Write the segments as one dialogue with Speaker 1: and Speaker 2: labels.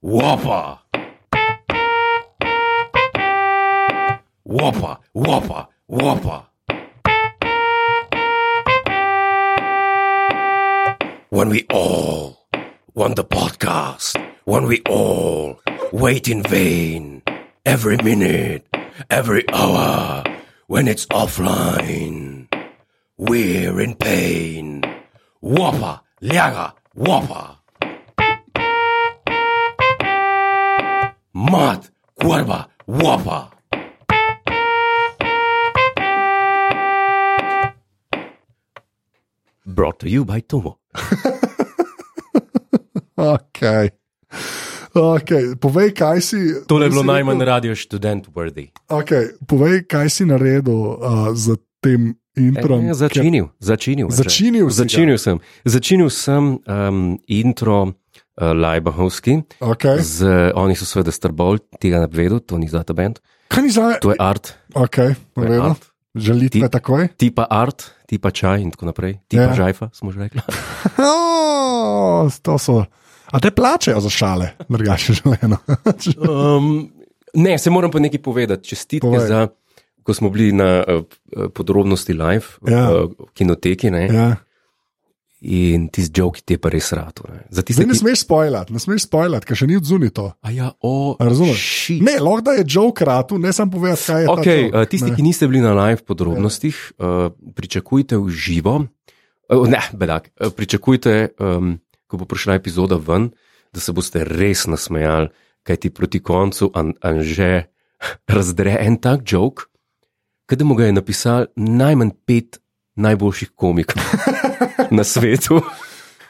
Speaker 1: Whopper. Whopper, whopper, whopper. When we all want the podcast, when we all wait in vain, every minute, every hour, when it's offline, we're in pain. Whopper, Liaga, Whopper. Mad, Cuerva, Whopper. Brought to you by Tomo.
Speaker 2: Okay. Okay, povej, kaj si.
Speaker 1: Tole Torej je bilo
Speaker 2: si rekel-
Speaker 1: najmanj radio študent worthy.
Speaker 2: Okay, povej, kaj si naredil uh, za tem introm.
Speaker 1: Ja, začinil, začinil. Andrej.
Speaker 2: Začinil si ga.
Speaker 1: začinil sem. Začinil sem um, intro uh, Lajbahovski.
Speaker 2: Okay.
Speaker 1: Z, oni so seveda strbolj, tega ne bi vedel, to ni zlata band,
Speaker 2: Kaj ni zdaj?
Speaker 1: to je art,
Speaker 2: Okay,
Speaker 1: to je art.
Speaker 2: Želite me
Speaker 1: Ti-
Speaker 2: takoj?
Speaker 1: tipa art, tipa čaj in tako naprej, tipa
Speaker 2: Ja.
Speaker 1: yeah. žajfa, smo že rekli.
Speaker 2: Oh, to so. A te plačajo za šale, drugače želeno.
Speaker 1: Um, ne, se moram pa nekaj povedati. Čestitke
Speaker 2: Povej.
Speaker 1: Povej. za, ko smo bili na uh, uh, podrobnosti live v
Speaker 2: Ja.
Speaker 1: uh, kinoteki ne,
Speaker 2: ja.
Speaker 1: in ti z joki te pa res rado. Za tiste,
Speaker 2: Zdaj ne
Speaker 1: ki
Speaker 2: smeš spoilati, ne smeš spoilati, ker še ni odzuni to.
Speaker 1: A ja, o,
Speaker 2: A razumeš?
Speaker 1: shit.
Speaker 2: Ne, lahko da je Joe kratu, ne sam povedati, kaj je. ta
Speaker 1: Okay,
Speaker 2: joke,
Speaker 1: uh, tisti,
Speaker 2: ne.
Speaker 1: ki niste bili na live podrobnostih, uh, pričakujte v živo, uh, ne, bedak, uh, pričakujte, um, ko bo prišla epizoda ven, da se boste res nasmejali, kaj ti proti koncu an, anže razdre en tak joke, ki mu ga je napisal najmanj pet najboljših komikov na svetu.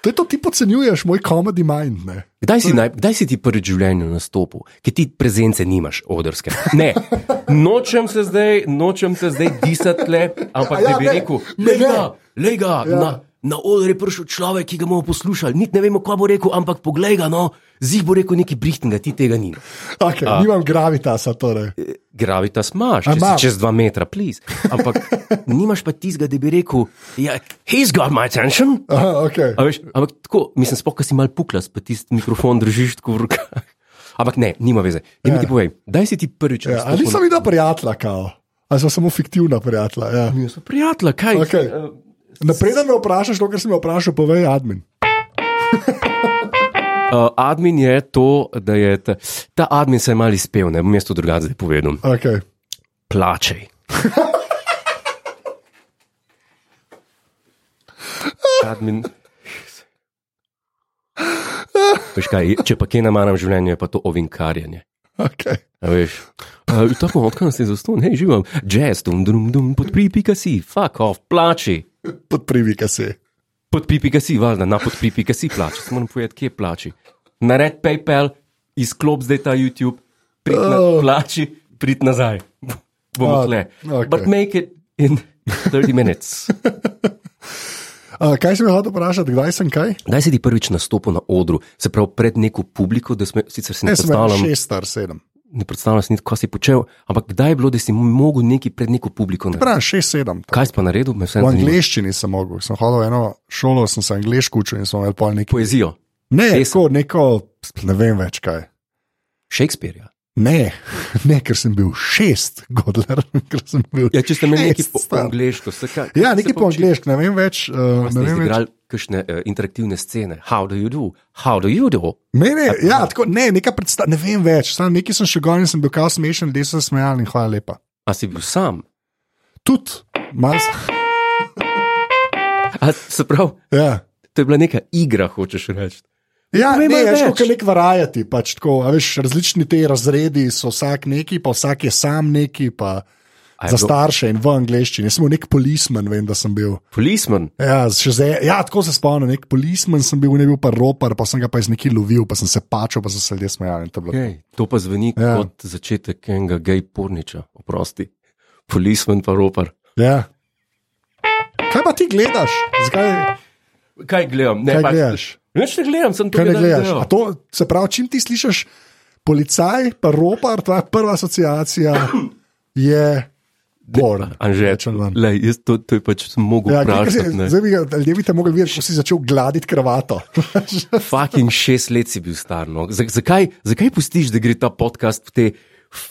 Speaker 2: To je to, ti podcenjuješ moj comedy mind. Ne?
Speaker 1: Kdaj si, naj, kdaj si ti prvič v življenju nastopil, ki ti prezence nimaš, odrske? Ne, nočem se zdaj, nočem se zdaj disati, le, ampak
Speaker 2: A ja,
Speaker 1: ja, bi
Speaker 2: ne,
Speaker 1: rekel,
Speaker 2: ne,
Speaker 1: lega, lega,
Speaker 2: Ja.
Speaker 1: ja. na, na oder je prišel človek, ki ga bomo poslušali, niti ne vemo, kaj bo rekel, ampak poglej ga, no, zih bo rekel neki brihtinga, ti tega ni.
Speaker 2: Okay, nimam gravitasa. Torej.
Speaker 1: Gravita smaš,
Speaker 2: A
Speaker 1: če
Speaker 2: imam?
Speaker 1: si čez dva metra, plis. Ampak nimaš pa tizga, da bi rekel, ja, he's got my attention.
Speaker 2: Aha, okay.
Speaker 1: A Veš, ampak tako, mislim, spoh, ki si mal puklas, pa tisti mikrofon držiš tako v rokah. Ampak ne, nima veze. Ti mi
Speaker 2: Ja.
Speaker 1: ti povej, daj si ti prvič.
Speaker 2: ja, ali nisem videl prijatelja, kao. ali so samo fiktivna prijatelja. Ja.
Speaker 1: Jaz sem prijatelj, kaj?
Speaker 2: Okej.
Speaker 1: Eh,
Speaker 2: Napreden me vprašaš, to, kar si me vprašal, povej, admin.
Speaker 1: eh, admin je to, da je ta, ta admin se je mal izpel, ne bom jaz to drugače zdaj povedal.
Speaker 2: Okay.
Speaker 1: Plačej. admin. Veš kaj, če pa kje namaram življenje, je pa to ovinkarjenje.
Speaker 2: Okay.
Speaker 1: A Veš, uh, tako odkaz je zaston, hej, živim, jazz, dum, dum, dum, podpri, pika si, fuck off, plači.
Speaker 2: Podprivi, kaj si.
Speaker 1: Podpri, pika si, valjda, na podpri, pika si, plači. Se moram povedati, kje plači. Nared PayPal, izklop zdaj ta YouTube, prid na,
Speaker 2: Oh.
Speaker 1: plači, prid nazaj.
Speaker 2: Ah,
Speaker 1: Bomo tle.
Speaker 2: okej.
Speaker 1: But make it in 30 minutes.
Speaker 2: Uh, kaj si me hotel vprašati, kdaj sem kaj?
Speaker 1: Kdaj si ti prvič nastopil na odru, se pravi pred neko publiko, da sme, sicer si ne
Speaker 2: Ne, sem bil
Speaker 1: predstavljam,
Speaker 2: šest, star sedem.
Speaker 1: ne predstavljam si niti, kaj si počel, ampak kdaj je bilo, da si mogel nekaj pred neko publiko narediti?
Speaker 2: Pravno, šest, sedem. tako.
Speaker 1: Kaj si pa naredil, me vse
Speaker 2: V
Speaker 1: zanima.
Speaker 2: angleščini sem mogel, sem hodil v eno šolo, sem se angliško učil in smo imeli pol nekaj.
Speaker 1: poezijo
Speaker 2: Ne,
Speaker 1: Pesem.
Speaker 2: tako, neko, ne vem več kaj.
Speaker 1: Shakespearja.
Speaker 2: Ne, ne, ker sem bil šest, Godler, ker sem bil.
Speaker 1: Ja, če ste imeli nekaj
Speaker 2: šest
Speaker 1: po, po
Speaker 2: star.
Speaker 1: angliško, se kaj.
Speaker 2: Ja, nekaj po angliško, ne vem več. Uh, ne
Speaker 1: Ste
Speaker 2: vem več.
Speaker 1: igrali kakšne uh, interaktivne scene. How do you do? How do you do?
Speaker 2: Ne, ne, ja, tako, ne, neka predstava, ne vem več. Sam nekaj sem še gonil in sem bil kao smešen, ljudje so se smejali in hvala lepa.
Speaker 1: A si bil sam?
Speaker 2: Tudi, malo.
Speaker 1: A, se pravi,
Speaker 2: Ja.
Speaker 1: to je bila neka igra, hočeš reči.
Speaker 2: Ja,
Speaker 1: Povej
Speaker 2: ne,
Speaker 1: malo
Speaker 2: ne,
Speaker 1: več.
Speaker 2: več kot nek varajati. Pač, tako, a veš, različni ti razredi so vsak neki, pa vsak je sam neki, pa
Speaker 1: A je
Speaker 2: za
Speaker 1: bilo-
Speaker 2: starše in v angleščini. Jaz sem bil nek polisman, vem, da sem bil.
Speaker 1: Policeman,
Speaker 2: Ja, še zdaj, ja tako se spomnim, nek polisman sem bil, ne bil pa ropar, pa sem ga pa iz neki lovil, pa sem se pačal, pa sem se ljudje smejal. in to je bilo to.
Speaker 1: okay. to pa zveni
Speaker 2: Ja.
Speaker 1: ja. kot začetek enega gej porniča, oprosti. Policeman pa ropar.
Speaker 2: Ja. Kaj pa ti gledaš? Zakaj
Speaker 1: Kaj gledam? Ne,
Speaker 2: Kaj
Speaker 1: pač-
Speaker 2: gledaš?
Speaker 1: Nič ne gledam, sem to
Speaker 2: kaj ne
Speaker 1: gledal
Speaker 2: gledaš?
Speaker 1: video.
Speaker 2: A To, se pravi, čim ti slišiš policaj, pa ropar, tvoja prva asociacija je Born.
Speaker 1: Anže,
Speaker 2: Rachel Van.
Speaker 1: lej, jaz to, to je pač mogel ja,
Speaker 2: Ja, kaj se-
Speaker 1: vprašati. ne.
Speaker 2: zdaj bi ga- ljudje bi te mogli videti, ko si začel gladiti kravato.
Speaker 1: Fucking šest let si bil star. No. Z, zakaj, zakaj pustiš, da gre ta podcast v te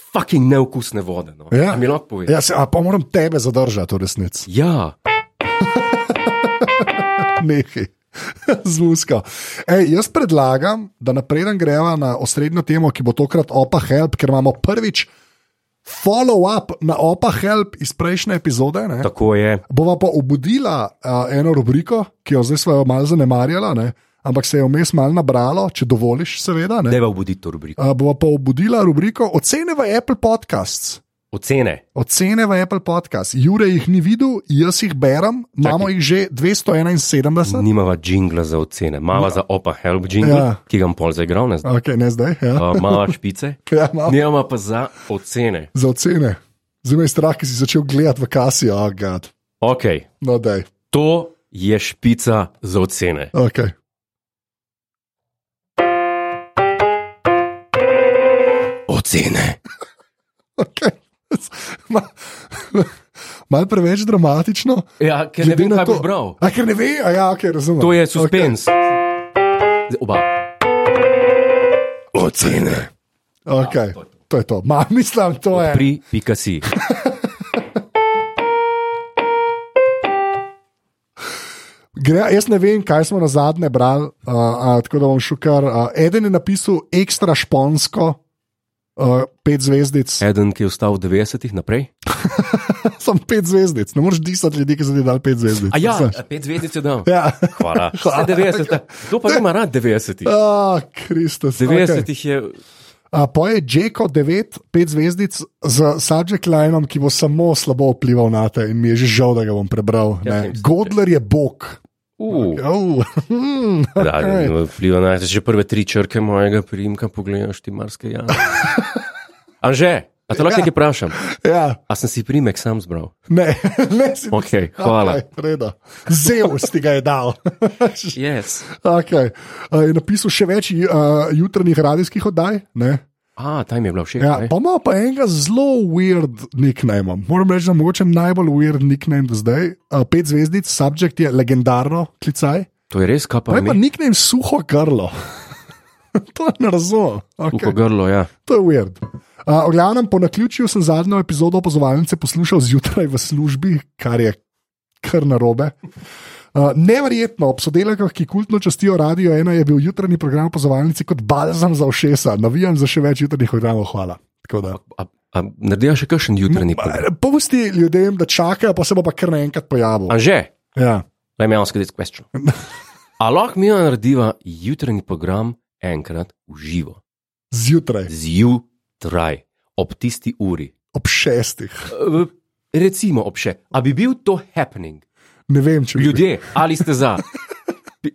Speaker 1: fucking neokusne vode? No? A mi lahko poveš?
Speaker 2: ja, se, a pa moram tebe zadržati v resnici.
Speaker 1: Ja. ja,
Speaker 2: Nehaj. Z musko. Ej, jaz predlagam, da napreden greva na osrednjo temo, ki bo tokrat Opa Help, ker imamo prvič follow-up na Opa Help iz prejšnje epizode. Ne?
Speaker 1: tako je.
Speaker 2: Bova pa obudila uh, eno rubriko, ki jo zdaj smo malo zanemarjala, ne? ampak se je vmes malo nabralo, če dovoliš, seveda. Ne?
Speaker 1: Deva obuditi to rubriko.
Speaker 2: Uh, bova pa obudila rubriko Ocene v Apple Podcasts.
Speaker 1: Ocene.
Speaker 2: Ocene v Apple Podcasts. Jure jih ni videl, jaz jih berem, imamo jih že 271.
Speaker 1: Nimava jingla za ocene, mava za opa help jingle,
Speaker 2: Ja.
Speaker 1: ja. ki ga bom pol zaigral, ne znam.
Speaker 2: Ok, ne zdaj. Ja.
Speaker 1: Uh, mava špice,
Speaker 2: Ja, imam.
Speaker 1: nema pa za ocene.
Speaker 2: Za ocene. Zdaj me je strah, ki si začel gledati v kasi, oh, gad.
Speaker 1: Ok,
Speaker 2: No, dej.
Speaker 1: to je špica za ocene.
Speaker 2: Okay.
Speaker 1: Ocene.
Speaker 2: Okay. Mal preveč dramatično.
Speaker 1: Ja, ker ne
Speaker 2: Glede
Speaker 1: vem,
Speaker 2: na
Speaker 1: kaj
Speaker 2: to-
Speaker 1: boš bral.
Speaker 2: A ker ne ve, a ja, okay, razumem.
Speaker 1: To je suspens. Okay. Oba. Ocene. Ja,
Speaker 2: Okay. Okay. To je to. Ma, mislim, to je.
Speaker 1: Pri pika si.
Speaker 2: Gre, jaz ne vem, kaj smo na zadnje brali, uh, uh, tako da bom šel kar. Uh, eden je napisal ekstra šponsko, uh, pet zvezdic.
Speaker 1: Eden, ki je ostal v 90-ih naprej.
Speaker 2: Sem pet zvezdic, ne moreš disati ljudi, ki so ti dali pet zvezdic.
Speaker 1: A ja,
Speaker 2: Znaš.
Speaker 1: pet zvezdic je dal.
Speaker 2: ja.
Speaker 1: Hvala. Vse 90. Kdo pa ima rad 90-ih?
Speaker 2: Ah, Kristus.
Speaker 1: 90-ih je.
Speaker 2: Uh, po je Jeko 9, 5 zvezdic z subject lineom, ki bo samo slabo vplival na te in mi je že žal, da ga bom prebral.
Speaker 1: Ja,
Speaker 2: ne.
Speaker 1: vem,
Speaker 2: Godler je bog.
Speaker 1: Uh,
Speaker 2: Oh.
Speaker 1: da, ne vpliva na to. Če prve tri črke mojega primka pogledaš, ti marske jame. Anže, a te lahko
Speaker 2: Ja.
Speaker 1: nekaj vprašam?
Speaker 2: ja,
Speaker 1: A sem si primek sam zbral?
Speaker 2: ne, ne si.
Speaker 1: Ok, hvala.
Speaker 2: Okay, reda. Zeus ti ga je dal.
Speaker 1: Yes.
Speaker 2: okay. uh, je napisal še več uh, jutranjih radijskih oddaj. Ne?
Speaker 1: A, ta jim je bila všeč.
Speaker 2: Ja,
Speaker 1: ne?
Speaker 2: pa ima pa enega zelo weird nickname. Moram reči, da je mogoče najbolj weird nickname do zdaj. Uh, pet zvezdic, subject je legendarno, klicaj.
Speaker 1: To je res, kaj pa
Speaker 2: Pa je pa
Speaker 1: mi.
Speaker 2: nickname suho grlo. to ne razumem.
Speaker 1: Uko
Speaker 2: Okay.
Speaker 1: grlo, ja.
Speaker 2: To je weird. Uh, v glavnem, po naključju sem zadnjo epizodo opozovalnice poslušal zjutraj v službi, kar je kar narobe. Uh, neverjetno, ob sodelavkah, ki kultno častijo Radio 1, je bil jutranji program opozovalnice kot balzam za ušesa. Navijam za še več jutranjih programov, hvala. Tako da.
Speaker 1: A, a naredijo še kakšen jutranji program?
Speaker 2: Pusti ljudem, da čakajo, pa se bo pa kar naenkrat pojavil.
Speaker 1: Anže,
Speaker 2: Ja.
Speaker 1: let me ask you this question. A lahko mi narediva jutranji program enkrat v živo,
Speaker 2: Zjutraj,
Speaker 1: zjutraj, ob tisti uri?
Speaker 2: ob šestih.
Speaker 1: Eh, Recimo, ob še, a bi bil to happening?
Speaker 2: Ne vem, če bi
Speaker 1: Ljudje, ali ste za? Bi-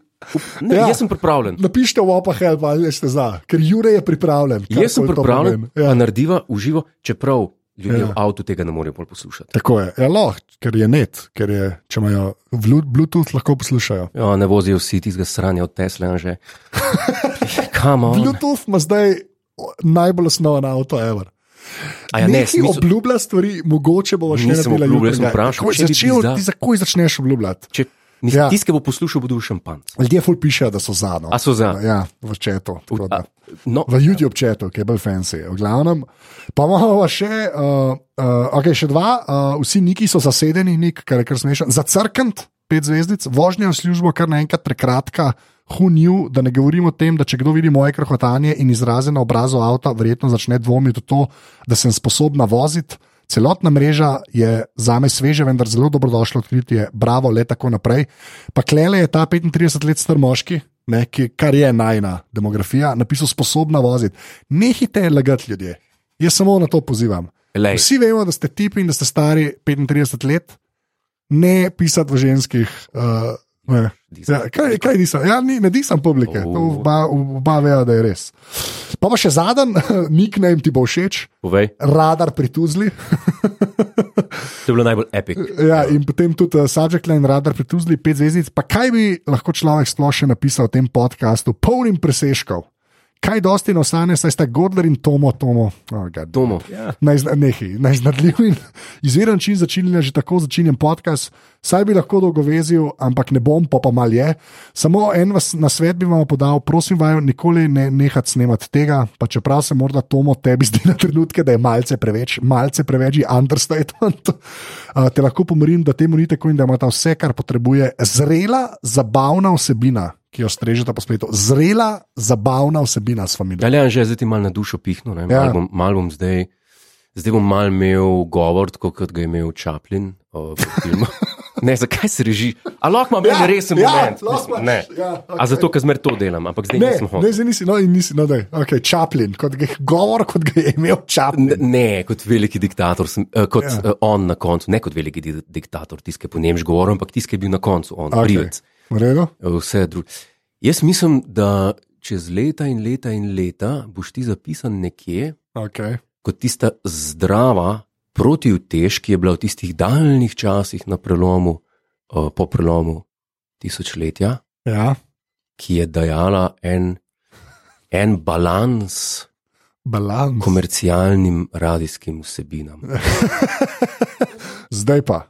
Speaker 1: Ne,
Speaker 2: Ja.
Speaker 1: ja. Jaz sem pripravljen.
Speaker 2: Napišite v opah, help, ali ste za, ker Jure je pripravljen. karkoli
Speaker 1: Jaz sem
Speaker 2: to
Speaker 1: pripravljen,
Speaker 2: pomeni.
Speaker 1: da
Speaker 2: Ja,
Speaker 1: narediva v živo, čeprav ljudje ja. v
Speaker 2: Ja.
Speaker 1: avtu tega ne morejo bolj poslušati.
Speaker 2: tako je, ja, lahko, ker je net, ker je, če imajo vlu- Bluetooth, lahko poslušajo.
Speaker 1: Ja, ne vozijo vsi tistega sranja od Tesla, Anže. Kamo?
Speaker 2: Bluetooth ima zdaj najbolj osnoven avto, ever.
Speaker 1: A ja, ne,
Speaker 2: Nekaj
Speaker 1: smisel,
Speaker 2: obljublja stvari, mogoče bo še
Speaker 1: Nisem
Speaker 2: naredila
Speaker 1: obljubljal, sem
Speaker 2: jutrega.
Speaker 1: vprašal,
Speaker 2: Takoj
Speaker 1: če bi
Speaker 2: začel,
Speaker 1: izdal.
Speaker 2: ti takoj začneš obljubljati.
Speaker 1: Če mislim,
Speaker 2: Ja.
Speaker 1: ja. tisti, ki bo poslušal, bo bil šampanc.
Speaker 2: Ljudje ful pišejo, da so za. No.
Speaker 1: A so za?
Speaker 2: Ja, v četu. tako da.
Speaker 1: A, no,
Speaker 2: V YouTube četu, ki je bolj fancy, v glavnem. Pa imamo pa še, uh, uh, okay, še dva, uh, vsi neki so zasedeni, nek, kar je kar smešno. Za crkant, pet zvezdic, vožnja v službo kar naenkrat prekratka, hunil, da ne govorim o tem, da če kdo vidi moje krhotanje in izraze na obrazu avta, verjetno začne dvomiti v to, da sem sposobna voziti. Celotna mreža je za me sveže, vendar zelo dobrodošlo odkritje, bravo, le tako naprej. Pa klele je ta 35 let star moški, ne, ki, kar je najna demografija, napisal sposobna voziti. Nehite lagati ljudje. Jaz samo na to pozivam.
Speaker 1: lej,
Speaker 2: Vsi vemo, da ste tipi in da ste stari 35 let, ne pisati v ženskih. Uh, ne.
Speaker 1: Disam.
Speaker 2: Ja, kaj, kaj nisem? Ja, ni, ne disam publike,
Speaker 1: Oh.
Speaker 2: To oba, oba vejo, da je res. Pa pa še zadnji, nickname ti bo všeč,
Speaker 1: povej,
Speaker 2: radar pri Tuzli.
Speaker 1: to je bilo najbolj epik.
Speaker 2: Ja, in potem tudi uh, subject line radar pri Tuzli, pet zvezdic. Pa kaj bi lahko človek sploh še napisal v tem podkastu, polnim preseškov, Kaj dosti ne ostane, saj sta Gordler in Tomo, Tomo, oh, God.
Speaker 1: Tomo. Ja.
Speaker 2: na izna- nehaj, na iznadljiv in izviren način začenja že tako začenjen podcast. Saj bi lahko dolgovezil, ampak ne bom, pa pa mal je. Samo en vas na svet bi vam podal, prosim, vaju nikoli ne nehati snemati tega, pa čeprav se morda Tomo tebi zdi na trenutke, da je malce preveč, malce preveč je understatement. A, Te lahko pomirim, da temu ni tako in da imata vse, kar potrebuje, zrela, zabavna vsebina. Ki jo strežete po spletu, zrela, zabavna vsebina s familijo.
Speaker 1: Daljan že zdaj ti mal na dušo pihno, ja.
Speaker 2: Ja.
Speaker 1: mal, bom, mal bom zdaj, zdaj bom mal imel govor, tako kot ga je imel Chaplin o, v filmu. Ne, zakaj se reži? A lahko imam ja, resen
Speaker 2: ja,
Speaker 1: moment.
Speaker 2: lahko
Speaker 1: Mislim,
Speaker 2: imaš,
Speaker 1: ne.
Speaker 2: ja,
Speaker 1: A
Speaker 2: okej.
Speaker 1: zato, ker zmer to delam, ampak zdaj
Speaker 2: Ne,
Speaker 1: nisem
Speaker 2: ne,
Speaker 1: hotel.
Speaker 2: zdaj nisi, no, in nisi, no, da je okay, Chaplin, kot ga, je- govor, kot ga je imel Chaplin.
Speaker 1: Ne, ne, kot veliki diktator, sem, uh, kot
Speaker 2: Ja.
Speaker 1: ja. uh, on na koncu, ne kot veliki di diktator, tiskaj po nemški govoru, ampak tiskaj bil na koncu, on,
Speaker 2: Okej.
Speaker 1: okay. krivec.
Speaker 2: V redu?
Speaker 1: Vse drugo. Jaz mislim, da čez leta in leta in leta boš ti zapisan nekje
Speaker 2: Okay.
Speaker 1: kot tista zdrava protivtež, ki je bila v tistih daljnih časih na prelomu, eh, po prelomu tisočletja,
Speaker 2: Ja,
Speaker 1: ki je dajala en, en balans
Speaker 2: balans.
Speaker 1: komercialnim radijskim vsebinam.
Speaker 2: Zdaj pa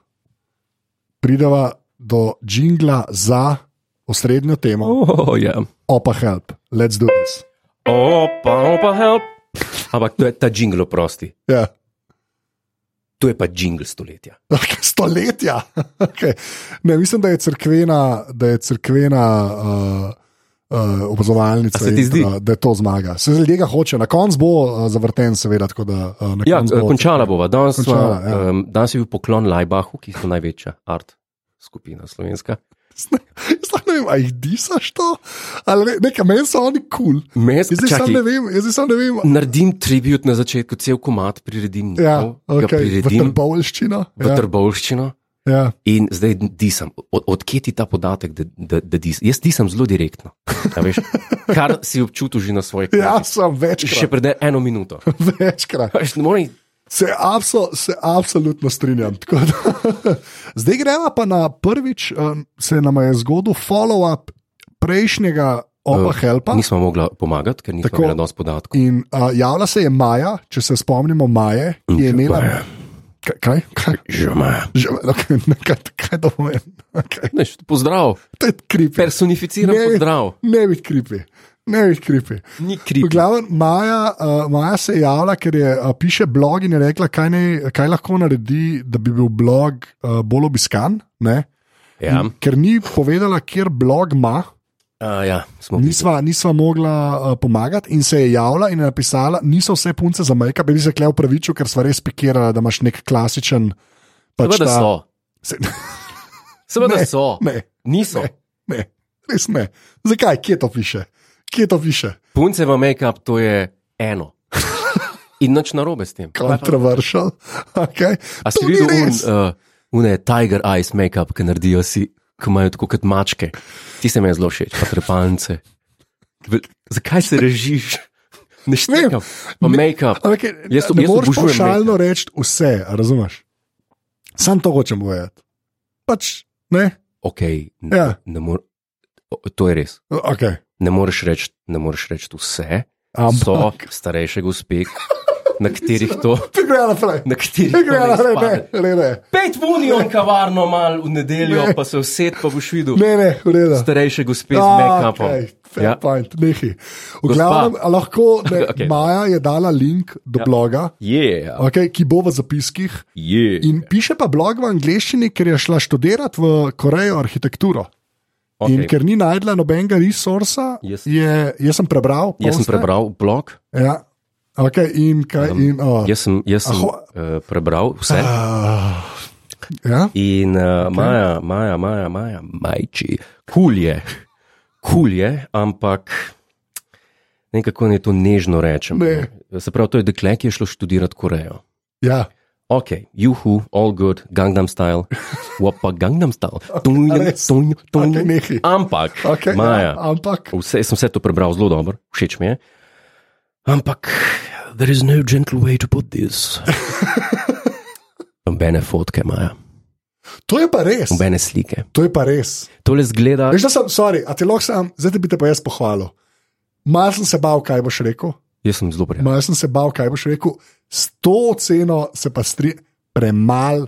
Speaker 2: prideva do jingla za osrednjo temo,
Speaker 1: Oh, ja.
Speaker 2: opa help, let's do this.
Speaker 1: Opa, opa, help. Ampak to je ta jingle, prosti.
Speaker 2: Ja.
Speaker 1: To je pa jingle stoletja.
Speaker 2: Okay, stoletja. Okay. Ne, mislim, da je crkvena, da je crkvena uh, uh, opazovalnica,
Speaker 1: A se ti
Speaker 2: in,
Speaker 1: zdi?
Speaker 2: uh, da je to zamaga. Se ljudje ga hoče, na koncu bo uh, zavrten, seveda. tako Da, uh, na
Speaker 1: Ja,
Speaker 2: koncu bo-
Speaker 1: končala bova. Danes,
Speaker 2: Končala,
Speaker 1: končala,
Speaker 2: ja.
Speaker 1: ja. um, danes je bil poklon Lajbahu, ki so največja art skupina slovenska.
Speaker 2: Jaz sploh ne vem, ali jih disaš to, ali ne, nekaj meni so oni kul. Cool.
Speaker 1: Mes,
Speaker 2: Jaz zdaj sam ne vem, jaz zdaj sam ne vem.
Speaker 1: Naredim tribut na začetku, cel komat priredim,
Speaker 2: Ja,
Speaker 1: nov, No, ga
Speaker 2: okay, v
Speaker 1: priredim
Speaker 2: trbovolščino.
Speaker 1: v trbovščino
Speaker 2: Ja, ja.
Speaker 1: in zdaj disam. Od, odkje ti ta podatek, da, da, da disam? Jaz disam zelo direktno, a veš, kar si občutil že na svojih
Speaker 2: ja,
Speaker 1: knjigah.
Speaker 2: sem
Speaker 1: Še
Speaker 2: večkrat.
Speaker 1: pred eno minuto.
Speaker 2: večkrat.
Speaker 1: Veš, ne morem-
Speaker 2: Se, absol, se absolutno strinjam. tako da- Zdaj gremo pa na prvič, em, se nam je zgodil follow-up prejšnjega Opa
Speaker 1: Eh,
Speaker 2: Helpa.
Speaker 1: Nismo mogli pomagati, ker nismo
Speaker 2: Tako.
Speaker 1: imeli dosti podatkov.
Speaker 2: In uh, javila se je Maja, če se spomnimo Maje, ki je imela.
Speaker 1: Maja.
Speaker 2: Kaj? Kaj? kaj?
Speaker 1: Že ima.
Speaker 2: Že, okay, kaj, kaj to pomeni? Okay.
Speaker 1: Pozdrav,
Speaker 2: To je kripi.
Speaker 1: personificiran
Speaker 2: Ne.
Speaker 1: pozdrav.
Speaker 2: Ne biti kripi, ne biti kripi.
Speaker 1: Ni kriv.
Speaker 2: Glavno, Maja, uh, Maja se je javila, ker je uh, piše blog in je rekla, kaj, ne, kaj lahko naredi, da bi bil blog uh, bolj obiskan. Ne?
Speaker 1: Ja.
Speaker 2: Ker ni povedala, kjer blog ima,
Speaker 1: Uh, ja, smo bili.
Speaker 2: nisva, nisva mogla uh, pomagati, in se je javila in je napisala, niso vse punce za majka, bi se klev pravičil, ker sva res pikirala, da imaš nek klasičen. Pač
Speaker 1: Seveda
Speaker 2: ta-
Speaker 1: so.
Speaker 2: Se-
Speaker 1: Seveda ne, so. Ne,
Speaker 2: Ne,
Speaker 1: Niso. Ne.
Speaker 2: ne, res ne. Zakaj, kje to piše? Kje to piše?
Speaker 1: Punce v make-up to je eno. In nič narobe s tem.
Speaker 2: Kontroversial. Okay.
Speaker 1: A si
Speaker 2: To ni
Speaker 1: videl un,
Speaker 2: res.
Speaker 1: uh, une tiger eyes make-up, ki naredijo si, ki imajo tako kot mačke. Ti se mi je zelo všeč, pa trepalnice. Vel- Zakaj se režiš? Ne štekam. Pa make-up.
Speaker 2: Ampak je-
Speaker 1: Jaz to-
Speaker 2: ne
Speaker 1: jaz
Speaker 2: moreš
Speaker 1: obožujem
Speaker 2: paušalno reči vse, a razumeš? Sam to hočem povedati. Pač ne.
Speaker 1: Ok, ne,
Speaker 2: Ja.
Speaker 1: ja. ne more, o, to je res.
Speaker 2: Okay.
Speaker 1: Ne moreš reči reč vse. So
Speaker 2: Ampak.
Speaker 1: starejše gospe, na katerih to.
Speaker 2: Ti gre naprej.
Speaker 1: Na katerih
Speaker 2: Ti gre
Speaker 1: to ne
Speaker 2: naprej, ne,
Speaker 1: izpade.
Speaker 2: ne, ne.
Speaker 1: Pet vunijo v kavarno mal v nedeljo, ne.
Speaker 2: Ne.
Speaker 1: pa se vse pa boš videl. Ne.
Speaker 2: Ne, ne, v redu.
Speaker 1: Starejše gospe z
Speaker 2: Ah,
Speaker 1: make-upom.
Speaker 2: okej, fair
Speaker 1: Ja.
Speaker 2: point, nehaj. V glavnem, a lahko ne,
Speaker 1: Okej. Ja.
Speaker 2: Maja je dala link do bloga,
Speaker 1: Je,
Speaker 2: okay, ki bo v zapiskih.
Speaker 1: je.
Speaker 2: In piše pa blog v angleščini, ker je šla študirati v Korejo arhitekturo. Okay. In ker ni najdla nobenega resursa,
Speaker 1: Jaz-
Speaker 2: je, jaz sem prebral.
Speaker 1: Jaz sem
Speaker 2: poste.
Speaker 1: prebral blog,
Speaker 2: Ja. Okay, in kaj, in, oh.
Speaker 1: jaz sem, jaz sem
Speaker 2: Aho.
Speaker 1: uh, prebral vse.
Speaker 2: Ah. ja?
Speaker 1: In uh, okay. Maja, Maja, Maja, Maja, majči, kul je, kul je, ampak ne vem, kako naj to nežno rečem.
Speaker 2: Ne.
Speaker 1: Se pravi, to je dekle, ki je šlo študirati Korejo.
Speaker 2: ja.
Speaker 1: Ok, juhu, all good, Gangnam style, pa Gangnam style. Tunj,
Speaker 2: res?
Speaker 1: tunj, tunj.
Speaker 2: Okej, nehaj.
Speaker 1: Ampak,
Speaker 2: Okay, ja,
Speaker 1: Maja,
Speaker 2: ampak
Speaker 1: vse, sem vse to prebral zelo dobro, všeč mi je. Ampak, there is no gentle way to put this. Nobene fotke, Maja,
Speaker 2: to je pa res.
Speaker 1: nobene slike.
Speaker 2: To je pa res.
Speaker 1: Tole zgleda,
Speaker 2: Veš, da sem, sorry, a ti lahko sam, zdaj te bi te pa jaz pohvalil. Mal sem se bal, kaj boš rekel.
Speaker 1: Jaz sem zelo prijazen.
Speaker 2: Mal sem se bal, kaj boš rekel. S to ceno se pa stri premal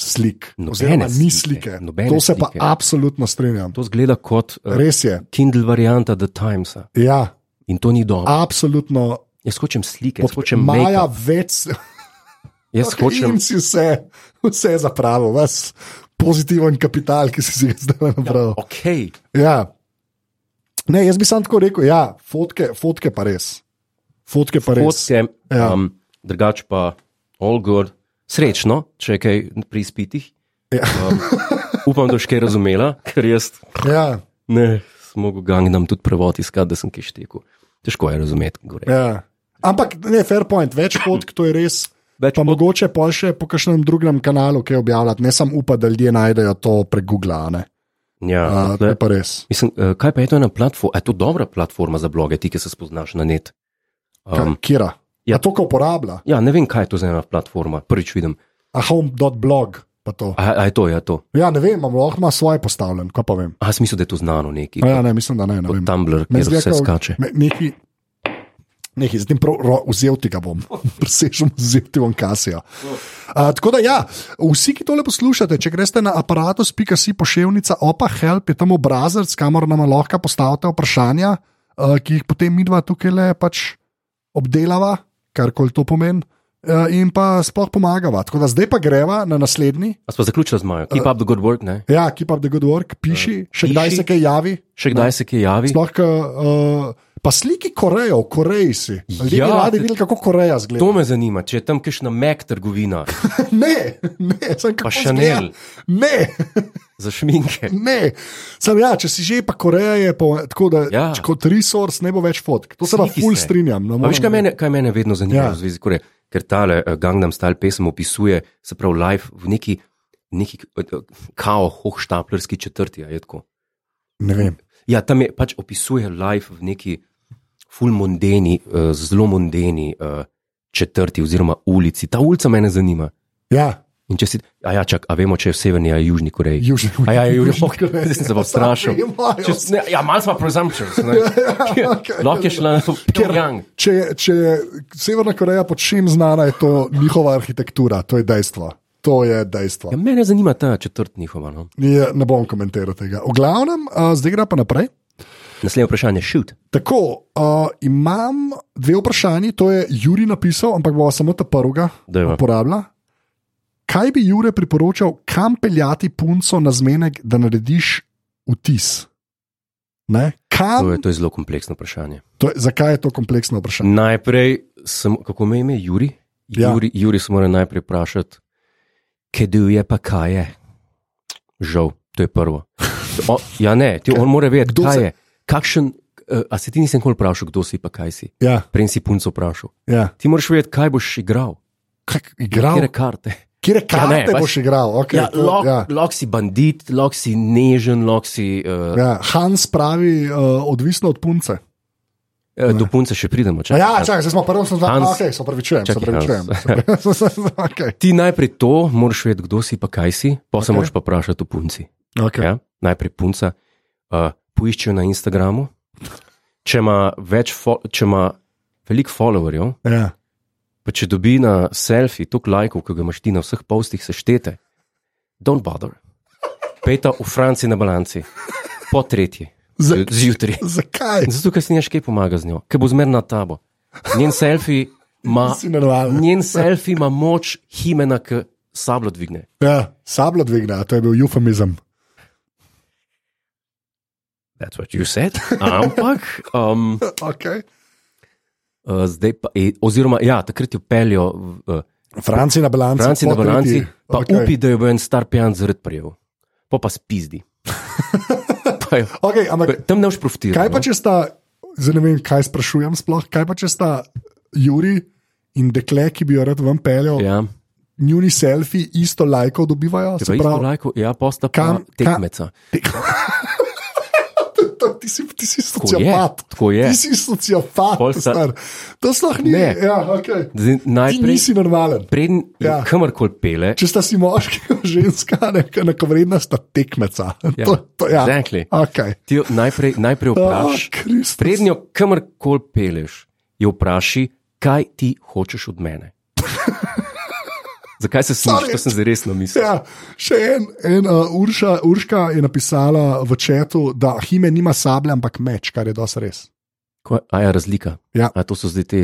Speaker 2: slik.
Speaker 1: Nobene
Speaker 2: Oziroma, ni
Speaker 1: slike,
Speaker 2: slike.
Speaker 1: nobene
Speaker 2: To se pa
Speaker 1: slike.
Speaker 2: absolutno strinjam.
Speaker 1: To zgleda kot uh,
Speaker 2: Res je.
Speaker 1: Kindle varianta The Timesa
Speaker 2: Ja,
Speaker 1: in to ni dobro.
Speaker 2: absolutno.
Speaker 1: Jaz hočem slike, jaz
Speaker 2: Pod-
Speaker 1: hočem
Speaker 2: Maja
Speaker 1: maja.
Speaker 2: več,
Speaker 1: Jaz hočem,
Speaker 2: in si vse, vse zapravil, vas pozitiven kapital, ki si si ga zdaj nabral.
Speaker 1: ok,
Speaker 2: Ja. Ne, jaz bi sam tako rekel, ja, fotke, fotke pa res. Fotke pa res.
Speaker 1: fotke,
Speaker 2: Ja.
Speaker 1: um, drugač pa all good. Srečno, če je kaj pri izpitih.
Speaker 2: Ja.
Speaker 1: Um, upam, da boš kaj razumela, ker jaz
Speaker 2: Ja,
Speaker 1: ne smogel gangnam tudi prevod iskati, da sem kaj štekel. Težko je razumeti, gore.
Speaker 2: ja. Ampak ne, fair point, več fotk to je res.
Speaker 1: Več pa
Speaker 2: Pa mogoče pa še po kakšnem drugem kanalu, ki je objavljati, ne samo upa, da ljudje najdejo to prek Google. a ne.
Speaker 1: ja,
Speaker 2: A, To
Speaker 1: tle-
Speaker 2: je pa res.
Speaker 1: Mislim, eh, kaj pa je to ena platforma? Je to dobra platforma za bloge, ti, ki se spoznaš na net?
Speaker 2: Um,
Speaker 1: Um,
Speaker 2: Kira.
Speaker 1: ja.
Speaker 2: Ja. To, ko uporablja,
Speaker 1: ja, ne vem, kaj je to za ena platforma, prvič vidim.
Speaker 2: a home.blog. pa to.
Speaker 1: A, a je to, ja, to.
Speaker 2: Ja, ne vem, imam lahko ima svoje postavljen, kaj pa vem.
Speaker 1: A jaz mislim, da je to znano neki.
Speaker 2: A Ja, ne, mislim, da ne. ne vem.
Speaker 1: Tumblr,
Speaker 2: Me
Speaker 1: kjer
Speaker 2: zgleda,
Speaker 1: vse
Speaker 2: kao-
Speaker 1: skače.
Speaker 2: ne- Neki, neki zdaj prav, ro, vzel ti ga bom, presežem, vzel ti bom kasijo. A, tako da, ja, vsi, ki tole poslušate, če greste na aparatus.si pošiljka opa help, je tam obrazec, kamor nam lahko postavite vprašanja, a, ki jih potem midva tukaj le pač obdelava, karkoli to pomeni. a, In pa sploh pomagava. Tako da zdaj pa greva na naslednji,
Speaker 1: A smo zaključili z Majo, keep up the good work, ne?
Speaker 2: ja, keep up the good work, piši, še kdaj
Speaker 1: Eh, piši.
Speaker 2: se kaj javi.
Speaker 1: Še kdaj
Speaker 2: Ja.
Speaker 1: se kje javi?
Speaker 2: Sploh, k, uh, pa sliki Korejo, v Koreji si. Ljudje
Speaker 1: Ja,
Speaker 2: ja, radi
Speaker 1: te-
Speaker 2: videli, kako Koreja zgleda.
Speaker 1: To me zanima, če je tam kakšna mek trgovina
Speaker 2: Ne, ne, sem kako
Speaker 1: Chanel.
Speaker 2: zgleda. Ne,
Speaker 1: za šminke.
Speaker 2: ne. Sam, ja, če si že, pa Koreja je pa, tako, da
Speaker 1: Ja.
Speaker 2: ja. kot resource ne bo več fotk. To se pa
Speaker 1: Sliki
Speaker 2: ful
Speaker 1: se.
Speaker 2: strinjam. No,
Speaker 1: A veš,
Speaker 2: moram-
Speaker 1: kaj mene, kaj mene vedno zanima
Speaker 2: Ja.
Speaker 1: ja. v zvezi s Korejo? Ker tale eh, Gangnam Style pesem opisuje, se pravi, live v neki, neki eh, eh, kao hohštaplerski četrti, a je tako.
Speaker 2: Ne vem.
Speaker 1: Ja, tam je pač opisuje life v neki fulmondeni, uh, zelo mondeni uh, četrti oziroma ulici. Ta ulica mene zanima.
Speaker 2: Ja,
Speaker 1: In če si, a ja, čak, a vemo, če je v severni ali južni Koreji.
Speaker 2: južni.
Speaker 1: A ja, južni,
Speaker 2: Južni
Speaker 1: ok,
Speaker 2: Koreji.
Speaker 1: zdaj sem se pa vstrašil.
Speaker 2: Imajo
Speaker 1: Če, s- ne, ja, malo smo presumptuous. Ja,
Speaker 2: okej.
Speaker 1: Lahko je šla na Pyongyang.
Speaker 2: Če, če je Severna Koreja pod čem znana, je to njihova arhitektura, to je dejstvo. To je dejstvo.
Speaker 1: Ja, mene zanima ta četrt njihova. No.
Speaker 2: Je, ne bom komentiral tega. V glavnem, uh, zdaj gre pa naprej.
Speaker 1: Naslednje vprašanje, šut.
Speaker 2: Tako, uh, imam dve vprašanji, to je Juri napisal, ampak bo samo ta prvega
Speaker 1: Dajva.
Speaker 2: uporabljal. Kaj bi Jure priporočal, kam peljati punco na zmenek, da narediš vtis? Ne? Kam?
Speaker 1: To je, to je zelo kompleksno vprašanje.
Speaker 2: To je, zakaj je to kompleksno vprašanje?
Speaker 1: Najprej, sem, kako me ime, Juri?
Speaker 2: Ja.
Speaker 1: Juri, Juri se mora najprej vprašati, kaj je, pa kaj je. Žal, to je prvo. O, ja, ne, ti, on mora vedeti,
Speaker 2: Kdo
Speaker 1: kdo kaj
Speaker 2: se-
Speaker 1: je. Kakšen, eh, a se ti nisem nikoli vprašal, kdo si pa kaj si.
Speaker 2: Ja,
Speaker 1: Prej si punco vprašal.
Speaker 2: ja.
Speaker 1: Ti moraš vedeti, kaj boš igral,
Speaker 2: Kaj, igral?
Speaker 1: kje karte.
Speaker 2: Kje karte ja,
Speaker 1: ne,
Speaker 2: ne,
Speaker 1: pač-
Speaker 2: boš igral? Okay,
Speaker 1: Ja,
Speaker 2: to,
Speaker 1: lahko
Speaker 2: ja.
Speaker 1: lahko si bandit, lahko si nežen, lahko si. Uh,
Speaker 2: Ja, Hans pravi, uh, odvisno od punce.
Speaker 1: ja. Do punce še pridemo.
Speaker 2: A
Speaker 1: Čak,
Speaker 2: Ja, čakaj, zdaj smo prvo sem znal,
Speaker 1: Hans-
Speaker 2: ok, se opravičujem, se
Speaker 1: Čakaj,
Speaker 2: opravičujem. okay.
Speaker 1: Ti najprej to, moraš vedeti, kdo si pa kaj si, pa okay. se
Speaker 2: Okej.
Speaker 1: moraš pa vprašati o punci.
Speaker 2: Okay.
Speaker 1: Ja? Najprej punca, uh, poiščejo na Instagramu. Če ima, več fo če ima veliko followerjev,
Speaker 2: Ja.
Speaker 1: pa če dobi na selfie toliko lajkov, ki ga imaš ti na vseh postih seštete, don't bother. Peta v Franciji na balanci, po tretji,
Speaker 2: Za-
Speaker 1: zjutraj.
Speaker 2: Zakaj?
Speaker 1: Zato, ker si neš kaj pomaga z njo, ker bo zmerna tabo. Njen selfie ima,
Speaker 2: Si nervalen.
Speaker 1: njen selfie ima moč himena, ki sablo dvigne.
Speaker 2: Ja, sablo dvigne, a to je bil eufemizem.
Speaker 1: That's what you said. Ampak. Um,
Speaker 2: Okay.
Speaker 1: Uh, zdaj pa, e, oziroma, ja, takrat jo peljo v uh,
Speaker 2: Franci na balanci.
Speaker 1: Francijo, na
Speaker 2: po
Speaker 1: Balanci,
Speaker 2: tretji.
Speaker 1: pa
Speaker 2: Okej.
Speaker 1: okay. upi, da jo bo en star pijan zred prijel, pa pa spizdi. Pa jo-
Speaker 2: Okej, ampak
Speaker 1: pa Tam ne boš profitiral.
Speaker 2: kaj pa
Speaker 1: no?
Speaker 2: če sta, zdaj ne vem, kaj sprašujem sploh, kaj pa če sta Juri in dekle, ki bi jo rad vam peljal,
Speaker 1: Ja,
Speaker 2: ja. njuni selfi isto lajkov dobivajo?
Speaker 1: se pravi, lajko, ja, posta pa
Speaker 2: Kam-
Speaker 1: tekmeca.
Speaker 2: Te- To- ti si, ti si
Speaker 1: Tako je,
Speaker 2: sociopat.
Speaker 1: tako je.
Speaker 2: Ti si sociopat,
Speaker 1: Pol sta-
Speaker 2: star. To sploh ni.
Speaker 1: Ne.
Speaker 2: Ja, okay.
Speaker 1: Zdaj,
Speaker 2: Ti
Speaker 1: najprej,
Speaker 2: nisi normalen.
Speaker 1: preden
Speaker 2: Ja.
Speaker 1: ja. kamorkoli pele,
Speaker 2: Če sta si moški in ženska, neka enakovredna sta tekmeca.
Speaker 1: Ja.
Speaker 2: To, to, ja.
Speaker 1: Exactly.
Speaker 2: okay.
Speaker 1: ti jo najprej, najprej vprašaj,
Speaker 2: Ah, Kristus.
Speaker 1: Prednjo, kamorkoli peleš, jo vpraši, kaj ti hočeš od mene. Zakaj se smejiš,
Speaker 2: Sorry.
Speaker 1: to sem zdaj resno mislil.
Speaker 2: Ja, še en, en uh, Urša, Urška je napisala v četu, da Hime nima sablja, ampak meč, kar je dosti res.
Speaker 1: Ko- A je razlika?
Speaker 2: Ja.
Speaker 1: A to so zdaj ti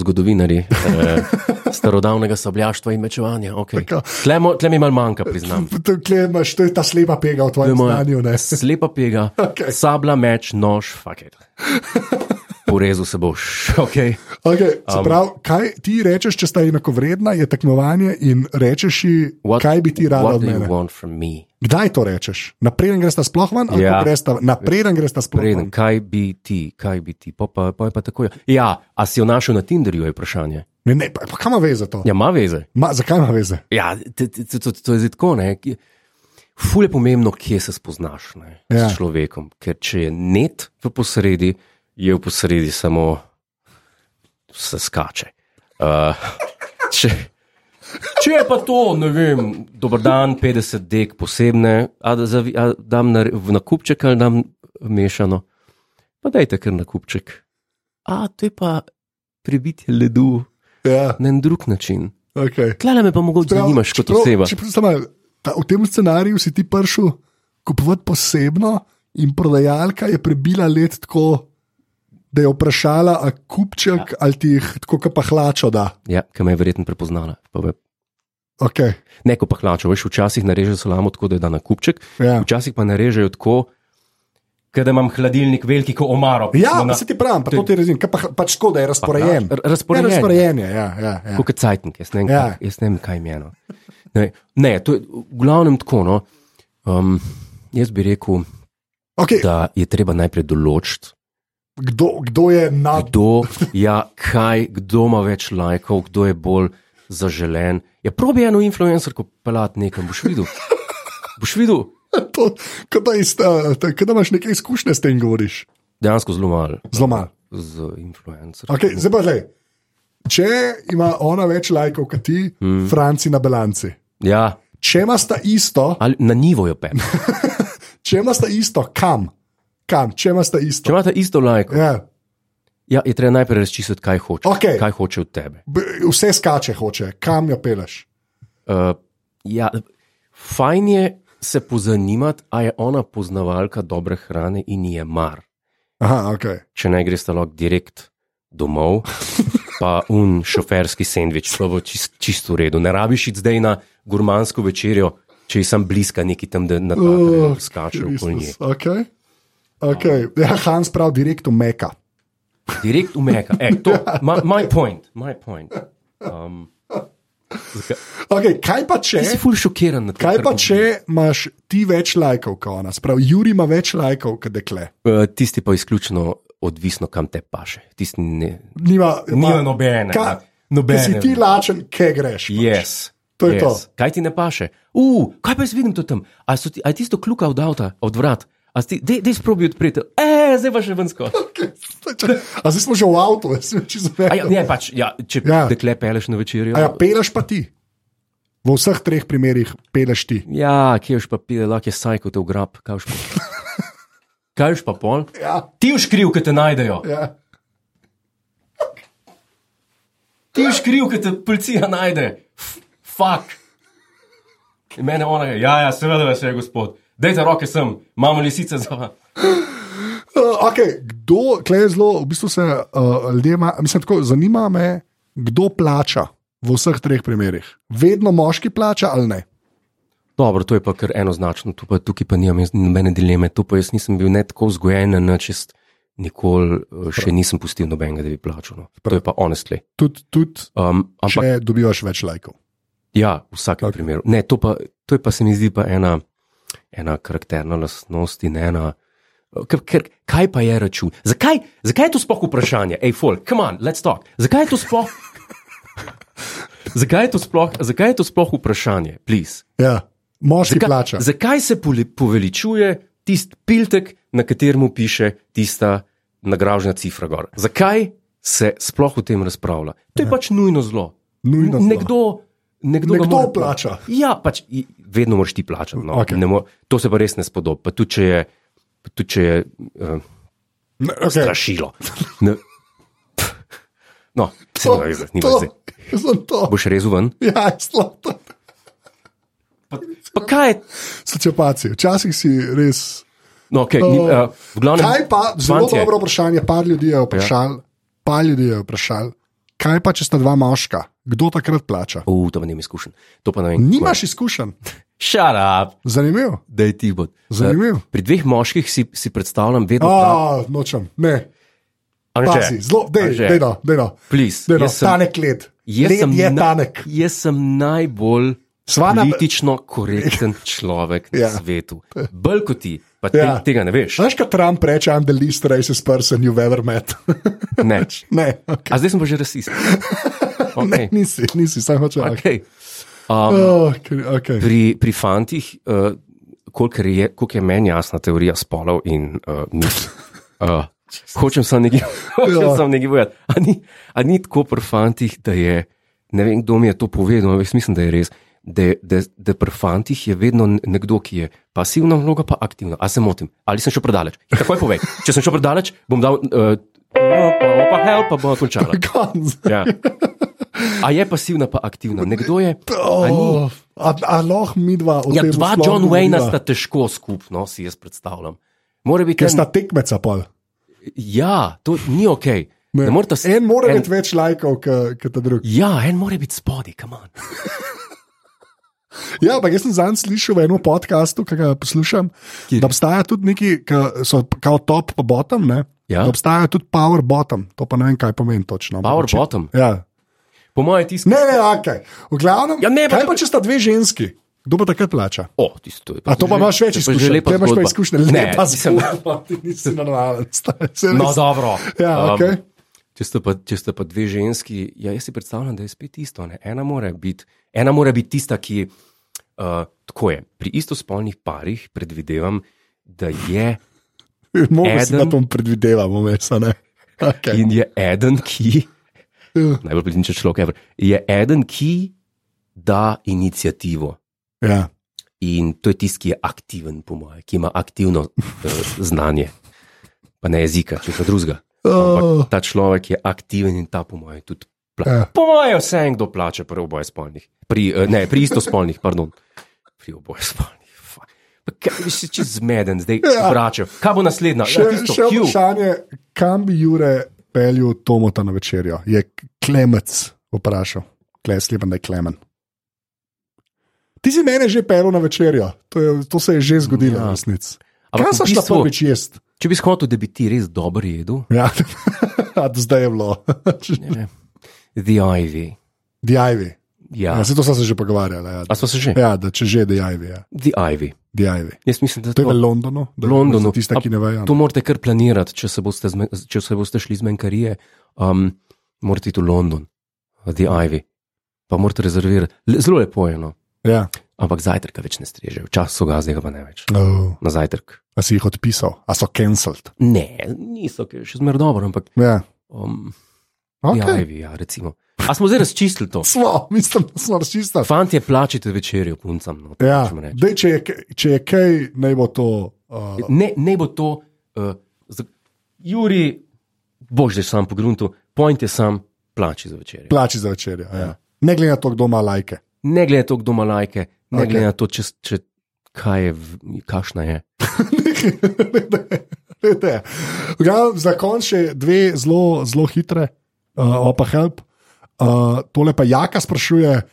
Speaker 1: zgodovinari eh, starodavnega sabljaštva in mečevanja. Okay.
Speaker 2: Tako.
Speaker 1: Tlemo, tle mi malo manjka, priznam.
Speaker 2: To, tle imaš, to je ta slepa pega v
Speaker 1: To je
Speaker 2: tvojem
Speaker 1: moja
Speaker 2: znanju. ne.
Speaker 1: Slepa pega,
Speaker 2: Okej.
Speaker 1: sabla, meč, nož, faket. Porezu se boš. Okay.
Speaker 2: Okay, um, prav, kaj ti rečeš, če sta enakovredna, je tekmovanje in rečeš, ji, kaj bi ti rada
Speaker 1: what
Speaker 2: od
Speaker 1: do you
Speaker 2: mene?
Speaker 1: want from me?
Speaker 2: Kdaj to rečeš? Napreden greš ta sploh ven, ali
Speaker 1: Ja.
Speaker 2: ja. greš ta napreden greš ta sploh
Speaker 1: Preden,
Speaker 2: ven?
Speaker 1: kaj bi ti, kaj bi ti, pa, pa, pa je pa tako. Ja, a si jo našel na Tinderju, je vprašanje.
Speaker 2: Ne, ne, pa, pa kam ima veze to? Ja.
Speaker 1: Ja, ima veze.
Speaker 2: Ma, zakaj ima veze?
Speaker 1: Ja, te- te- te- to, to je zdaj tako. ne. Kje- Ful je pomembno, kje se spoznaš ne,
Speaker 2: Ja.
Speaker 1: ja. s človekom. Ker če je net v posredi, je v posredi samo se skače. Uh, če, če je pa to, ne vem, dober dan, 50 dek posebne, a da zavi, a dam na, v nakupček ali dam mešano, pa dajte kar nakupček. A to je pa prebitje ledu
Speaker 2: Ja,
Speaker 1: na en drug način.
Speaker 2: okay.
Speaker 1: Klele me pa mogoče zanimaš kot oseba.
Speaker 2: Če, sama, ta, v tem scenariju si ti prišel kupovati posebno, in prodajalka je prebila let tako, da je vprašala, a kupček ja. ali ti jih tako, kot pa hlačo da.
Speaker 1: Ja, ki me je verjetno prepoznala. Pa me-
Speaker 2: Okay.
Speaker 1: Ne, ko pa hlačo, veš, včasih narežejo salamo tako, da je da na kupček,
Speaker 2: Ja.
Speaker 1: včasih pa narežejo tako, ke da imam hladilnik veliki kot omaro.
Speaker 2: Ja,
Speaker 1: na,
Speaker 2: pa se ti pravim, pa to ti razumem, kaj pa, hl- pač tako, da je razporejen.
Speaker 1: Ja, r- razporejen.
Speaker 2: Ja, razporejen je, ja, ja, ja.
Speaker 1: Kot cajtnik, jaz ne vem,
Speaker 2: Ja.
Speaker 1: ja. jaz ne vem kaj imeno. Ne, ne, to je v glavnem tako. No, um, jaz bi rekel,
Speaker 2: Okay,
Speaker 1: da je treba najprej določiti,
Speaker 2: kdo, kdo je nad?
Speaker 1: kdo, ja, kaj, kdo ima več lajkov, kdo je bolj zaželen. Ja, probi eno influencerko pelati nekam, boš videl. Boš videl,
Speaker 2: To, kot da, iz, eh, to- kot da imaš neke izkušnje s tem, govoriš.
Speaker 1: dejansko zelo malo.
Speaker 2: Zelo malo.
Speaker 1: z influencerjem.
Speaker 2: Okay, zdaj pa zdaj. Če ima ona več lajkov kot ti, mm. Franci na balanci.
Speaker 1: Ja,
Speaker 2: Če ima sta isto,
Speaker 1: ali na nivo jo pem.
Speaker 2: če ima sta isto, kam? Kam, če ima sta
Speaker 1: Če
Speaker 2: isto?
Speaker 1: imaš isto lajko,
Speaker 2: Ja.
Speaker 1: ja, je treba najprej razčistiti, kaj hoče.
Speaker 2: Okej.
Speaker 1: Kaj hoče od tebe.
Speaker 2: B- Vse skače, hoče, kam jo peleš.
Speaker 1: Uh, ja, fajn je se pozanimati, a je ona poznavalka dobre hrane in ji je mar.
Speaker 2: Aha, okay.
Speaker 1: Če ne greš lahko direkt domov, pa un šoferski sendvič, to bo čist, čisto v redu. Ne rabiš iti zdaj na gurmansko večerjo, če je sam bliska neki tam, Ja, da na ta
Speaker 2: Oh,
Speaker 1: način skače okoli nje.
Speaker 2: Kristus, okay. Okay. Ja, Hans pravi, direkt v Meka.
Speaker 1: Direkt umeka. E, to, my, my point. My point. Um, zakaj-
Speaker 2: Okay, kaj pa če?
Speaker 1: Ti si ful šokiran nad tem.
Speaker 2: Kaj
Speaker 1: kar
Speaker 2: pa,
Speaker 1: govorim.
Speaker 2: če imaš ti več lajkov kot ona? Sprav, Juri ima več lajkov kot dekle.
Speaker 1: Eh, Tisti pa je izključno odvisno, kam te paše. Tisti ne.
Speaker 2: Nima,
Speaker 1: Nima nobene, ja.
Speaker 2: Ka,
Speaker 1: nobene.
Speaker 2: nobene. Si ti lačen, kje greš? pač.
Speaker 1: Yes.
Speaker 2: To
Speaker 1: yes.
Speaker 2: je to.
Speaker 1: Kaj ti ne paše? Uf, kaj pa jaz vidim to tam? A, so ti, a je tisto kljuka od avta, od vrat? A si ti, dej, dej sprobi odpreti. E, zdaj pa še vensko.
Speaker 2: Okej, če- A zdaj smo že v avtu, jaz sem čisto
Speaker 1: A Ja,
Speaker 2: zmeden.
Speaker 1: ne, pač, ja, če
Speaker 2: Ja.
Speaker 1: ja. dekle peleš na večerjo.
Speaker 2: A ja, peleš pa ti. V vseh treh primerih peleš ti.
Speaker 1: Ja, kje už pa pide, lahko je sajko te ugrab. Kaj už pa, kaj už pa pol?
Speaker 2: Ja,
Speaker 1: Ti už kriv, ki te najdejo.
Speaker 2: ja.
Speaker 1: Ti si kriv, ker te policija najde. F- Fak. In mene ona je, ja, ja seveda, da se je gospod. Dajte roke sem, imamo lisice za vas.
Speaker 2: Uh, okay, kdo, klej je zelo, v bistvu se uh, ljudem, mislim, tako zanima me, kdo plača v vseh treh primerih. Vedno moški plača ali ne?
Speaker 1: Dobro, to je pa kar enoznačno, tu pa, tukaj pa nimam jaz nobene dileme. Tu pa jaz nisem bil ne tako vzgojen, na nič jaz nikoli eh, še nisem pustil nobenega, da bi plačal. No. To je pa honestly.
Speaker 2: Tudi, tudi
Speaker 1: Um, ampak
Speaker 2: če dobivaš več lajkov.
Speaker 1: Ja, v vsakem okay. primeru. Ne, to, pa, to je pa se mi zdi pa ena, ena karakterna lastnost in ena. Ker, ker, kaj pa je račun? Zakaj, zakaj je to sploh vprašanje? Hej, folk, come on, let's talk. Zakaj je to sploh? zakaj, je to sploh zakaj je to sploh vprašanje? Please.
Speaker 2: Ja, moški
Speaker 1: Zakaj,
Speaker 2: plača.
Speaker 1: zakaj se poli- poveličuje tisti piltek na katerem piše tista nagražena cifra. Gor. Zakaj se sploh o tem razpravlja? To je pač nujno zlo.
Speaker 2: Nujno zlo.
Speaker 1: Nekdo, nekdo, ga
Speaker 2: Nekdo
Speaker 1: mora
Speaker 2: plača.
Speaker 1: pla- Ja, pač i- vedno moraš ti plačati. No.
Speaker 2: Okej.
Speaker 1: Okay. Mor to se pa res ne spodobi. Pa tudi če je, pa tudi, če je uh,
Speaker 2: Ne, okay.
Speaker 1: strašilo. Ne, Pff. no, se ne veze, ni
Speaker 2: to,
Speaker 1: veze.
Speaker 2: sem to.
Speaker 1: Boš rezel ven.
Speaker 2: Ja, zelo to.
Speaker 1: Pa kaj je
Speaker 2: Sociopacije. Včasih si res.
Speaker 1: No, okay, ni,
Speaker 2: To-
Speaker 1: uh, v glavnem,
Speaker 2: Kaj pa, zelo
Speaker 1: fantje,
Speaker 2: dobro vprašanje, par ljudi je vprašal, ja. par ljudi je vprašal, kaj pa, če sta dva moška, kdo takrat plača?
Speaker 1: Uh, to pa nimam izkušen. To pa ne vem.
Speaker 2: Nimaš izkušenj,
Speaker 1: Šarab,
Speaker 2: zanimivo,
Speaker 1: da je ti bod.
Speaker 2: zanimivo.
Speaker 1: Pri dveh moških si, si predstavljam vedno. prav-
Speaker 2: A, nočem, ne,
Speaker 1: Anže,
Speaker 2: pazi, zelo, dej,
Speaker 1: Anže,
Speaker 2: dej, no, dej, no,
Speaker 1: please,
Speaker 2: dej, no,
Speaker 1: jaz sem-
Speaker 2: tanek led,
Speaker 1: jaz
Speaker 2: led
Speaker 1: sem
Speaker 2: je
Speaker 1: na-
Speaker 2: tanek.
Speaker 1: Jaz sem najbolj
Speaker 2: Svana-
Speaker 1: politično korekten človek na
Speaker 2: Ja.
Speaker 1: ja. svetu. Bolj kot ti, pa te, ja.
Speaker 2: Ja.
Speaker 1: tega ne veš.
Speaker 2: Veš, kaj Trump reče, I'm the least racist person you've ever met.
Speaker 1: Ne.
Speaker 2: ne, okay.
Speaker 1: A zdaj sem pa že rasist.
Speaker 2: ne,
Speaker 1: Okay.
Speaker 2: nisi, nisi, samo hoče. Okay.
Speaker 1: Okay. Um,
Speaker 2: Oh, okay.
Speaker 1: pri, pri fantih, uh, koliko je, koliko je meni jasna teorija spolov in uh, mit. Uh, hočem samo nekaj, hočem
Speaker 2: Ja.
Speaker 1: sam nekaj povedati. A ni, a ni tako pri fantih, da je, ne vem, kdo mi je to povedal, ampak jaz mislim, da je res. Da, je- da, da pri fantih je vedno nekdo, ki je pasivna vloga, pa aktivna. A se motim, ali sem šel predaleč. Takoj povej, če sem šel predaleč, bom dal, uh, pa, pa, help, pa bom končala.
Speaker 2: Konc.
Speaker 1: Ja. A je pasivna, pa aktivna. Nekdo je. a ni-
Speaker 2: Oh, a, a lahko mi dva od
Speaker 1: Ja,
Speaker 2: tega.
Speaker 1: dva John Wayna sta težko skupno, si jaz predstavljam. Mora biti
Speaker 2: Ker
Speaker 1: en,
Speaker 2: sta tekmeca pol.
Speaker 1: ja, to ni ok. Ne. Ne morata s-
Speaker 2: en mora
Speaker 1: en-
Speaker 2: biti več lajkov, kot ta drugi.
Speaker 1: Ja, en mora biti spodaj, kamen.
Speaker 2: Ja, ampak jaz sem zanj slišal v enem podkastu, ki ga poslušam,
Speaker 1: Kje?
Speaker 2: Kjer? da obstaja tudi neki, ki so kao top pa bottom, ne?
Speaker 1: Ja.
Speaker 2: Da obstaja tudi power bottom, to pa ne vem, kaj pomeni točno. ampak
Speaker 1: Power
Speaker 2: oči-
Speaker 1: bottom.
Speaker 2: Ja.
Speaker 1: Po mojem tisku.
Speaker 2: Ne, ne, ok. V glavnem,
Speaker 1: Ja,
Speaker 2: ja, ne,
Speaker 1: ne, pa
Speaker 2: kaj
Speaker 1: to-
Speaker 2: pa če sta dve ženski? Kdo pa takrat plača?
Speaker 1: O, tisto je.
Speaker 2: A to pa
Speaker 1: že-
Speaker 2: imaš več
Speaker 1: to pa že
Speaker 2: izkušenj,
Speaker 1: lepa
Speaker 2: te imaš pa
Speaker 1: zgodba.
Speaker 2: izkušnje,
Speaker 1: Ne,
Speaker 2: lepa
Speaker 1: nisem-
Speaker 2: zgodba, ti nisi normalen. stari, se
Speaker 1: No,
Speaker 2: res.
Speaker 1: dobro.
Speaker 2: Ja,
Speaker 1: Um,
Speaker 2: okej.
Speaker 1: Če sta, pa, če sta pa dve ženski, ja, jaz si predstavljam, da je spet isto. Ne? Ena mora biti ena mora biti tista, ki. Uh, tako je. Pri istospolnih parih predvidevam, da je
Speaker 2: Mogoče si
Speaker 1: Eden-
Speaker 2: na tom predvidevamo, veš, a ne. Okay.
Speaker 1: in je eden, ki.
Speaker 2: Ja.
Speaker 1: najbolj političen človek, ever, je eden, ki da inicijativo.
Speaker 2: Ja.
Speaker 1: In to je tisti, ki je aktiven, po mojem, ki ima aktivno uh, znanje, pa ne jezika, če še drugega.
Speaker 2: Oh,
Speaker 1: Ampak ta človek je aktiven in ta, po mojem, tudi plača.
Speaker 2: Ja.
Speaker 1: Po mojem, vse en, kdo plače pri oboje spolnih. Pri, uh, ne, pri istospolnih, pardon. Pri oboje spolnih. fuck. Pa Kaj bi si čez zmeden, zdaj
Speaker 2: Ja.
Speaker 1: ja. vračam. Kaj bo naslednja?
Speaker 2: še,
Speaker 1: ja, tisto,
Speaker 2: še
Speaker 1: Q.
Speaker 2: vprašanje, kam bi Jure peljal Tomota na večerjo? Je Klemec vprašal, klej slepen, da je Klemen. Ti si mene že pel na večerjo, to, je, to se je že zgodilo, ja.
Speaker 1: Ja.
Speaker 2: resnic.
Speaker 1: Ampak
Speaker 2: Kaj
Speaker 1: v
Speaker 2: so šla
Speaker 1: bistvu,
Speaker 2: prvič jesti?
Speaker 1: če bi hotel, da bi ti res dobro jedel,
Speaker 2: Ja, zdaj je bilo.
Speaker 1: ne, the Ivy.
Speaker 2: Dijajvi.
Speaker 1: Ja.
Speaker 2: Ja, se to sva se že pogovarjala. Ja.
Speaker 1: A smo se že? Ja.
Speaker 2: ja, da če že dijajvi, ja.
Speaker 1: The Ivy.
Speaker 2: dijajvi.
Speaker 1: Jaz mislim, da
Speaker 2: To je v
Speaker 1: to,
Speaker 2: Londonu, da
Speaker 1: No. Londonu.
Speaker 2: za Tiste, ki ne vejo. no.
Speaker 1: to morate kar planirati, če se boste, zme, če se boste šli z menkarije. Um, morate iti v London, The Ivy, pa morate rezervirati. Le, zelo lepo je, no.
Speaker 2: Ja.
Speaker 1: ampak zajtrka več ne streže, včasih so ga, zdaj ga pa ne več.
Speaker 2: Oh,
Speaker 1: Na zajtrk.
Speaker 2: a si jih odpisal, a so cancelled.
Speaker 1: Ne, niso, ker je še zmeraj dobro, ampak
Speaker 2: Ja.
Speaker 1: um, okay. The
Speaker 2: Okay.
Speaker 1: Ivy, ja, recimo. A smo zdaj razčistili to?
Speaker 2: Smo, mislim, da smo razčistili.
Speaker 1: Fantje, plačite večerjo puncam. No, to
Speaker 2: Ja,
Speaker 1: hočem reči.
Speaker 2: dej, če, je, k- če je kaj, naj bo to. Uh,
Speaker 1: Ne, ne bo to, uh, za, Juri, boš že sam pogrunil, point je sam, plači za večer.
Speaker 2: plači za večerjo. Ja. Ne glede na to, kdo ima lajke.
Speaker 1: Ne glede na to, kdo ima lajke, ne
Speaker 2: Okej.
Speaker 1: okay. glede na to, če, če, kaj je, v- kakšna je.
Speaker 2: Glejte, v glavnem, za konec še dve zelo, zelo hitre, uh, opa help. Uh, tole pa Jaka sprašuje uh,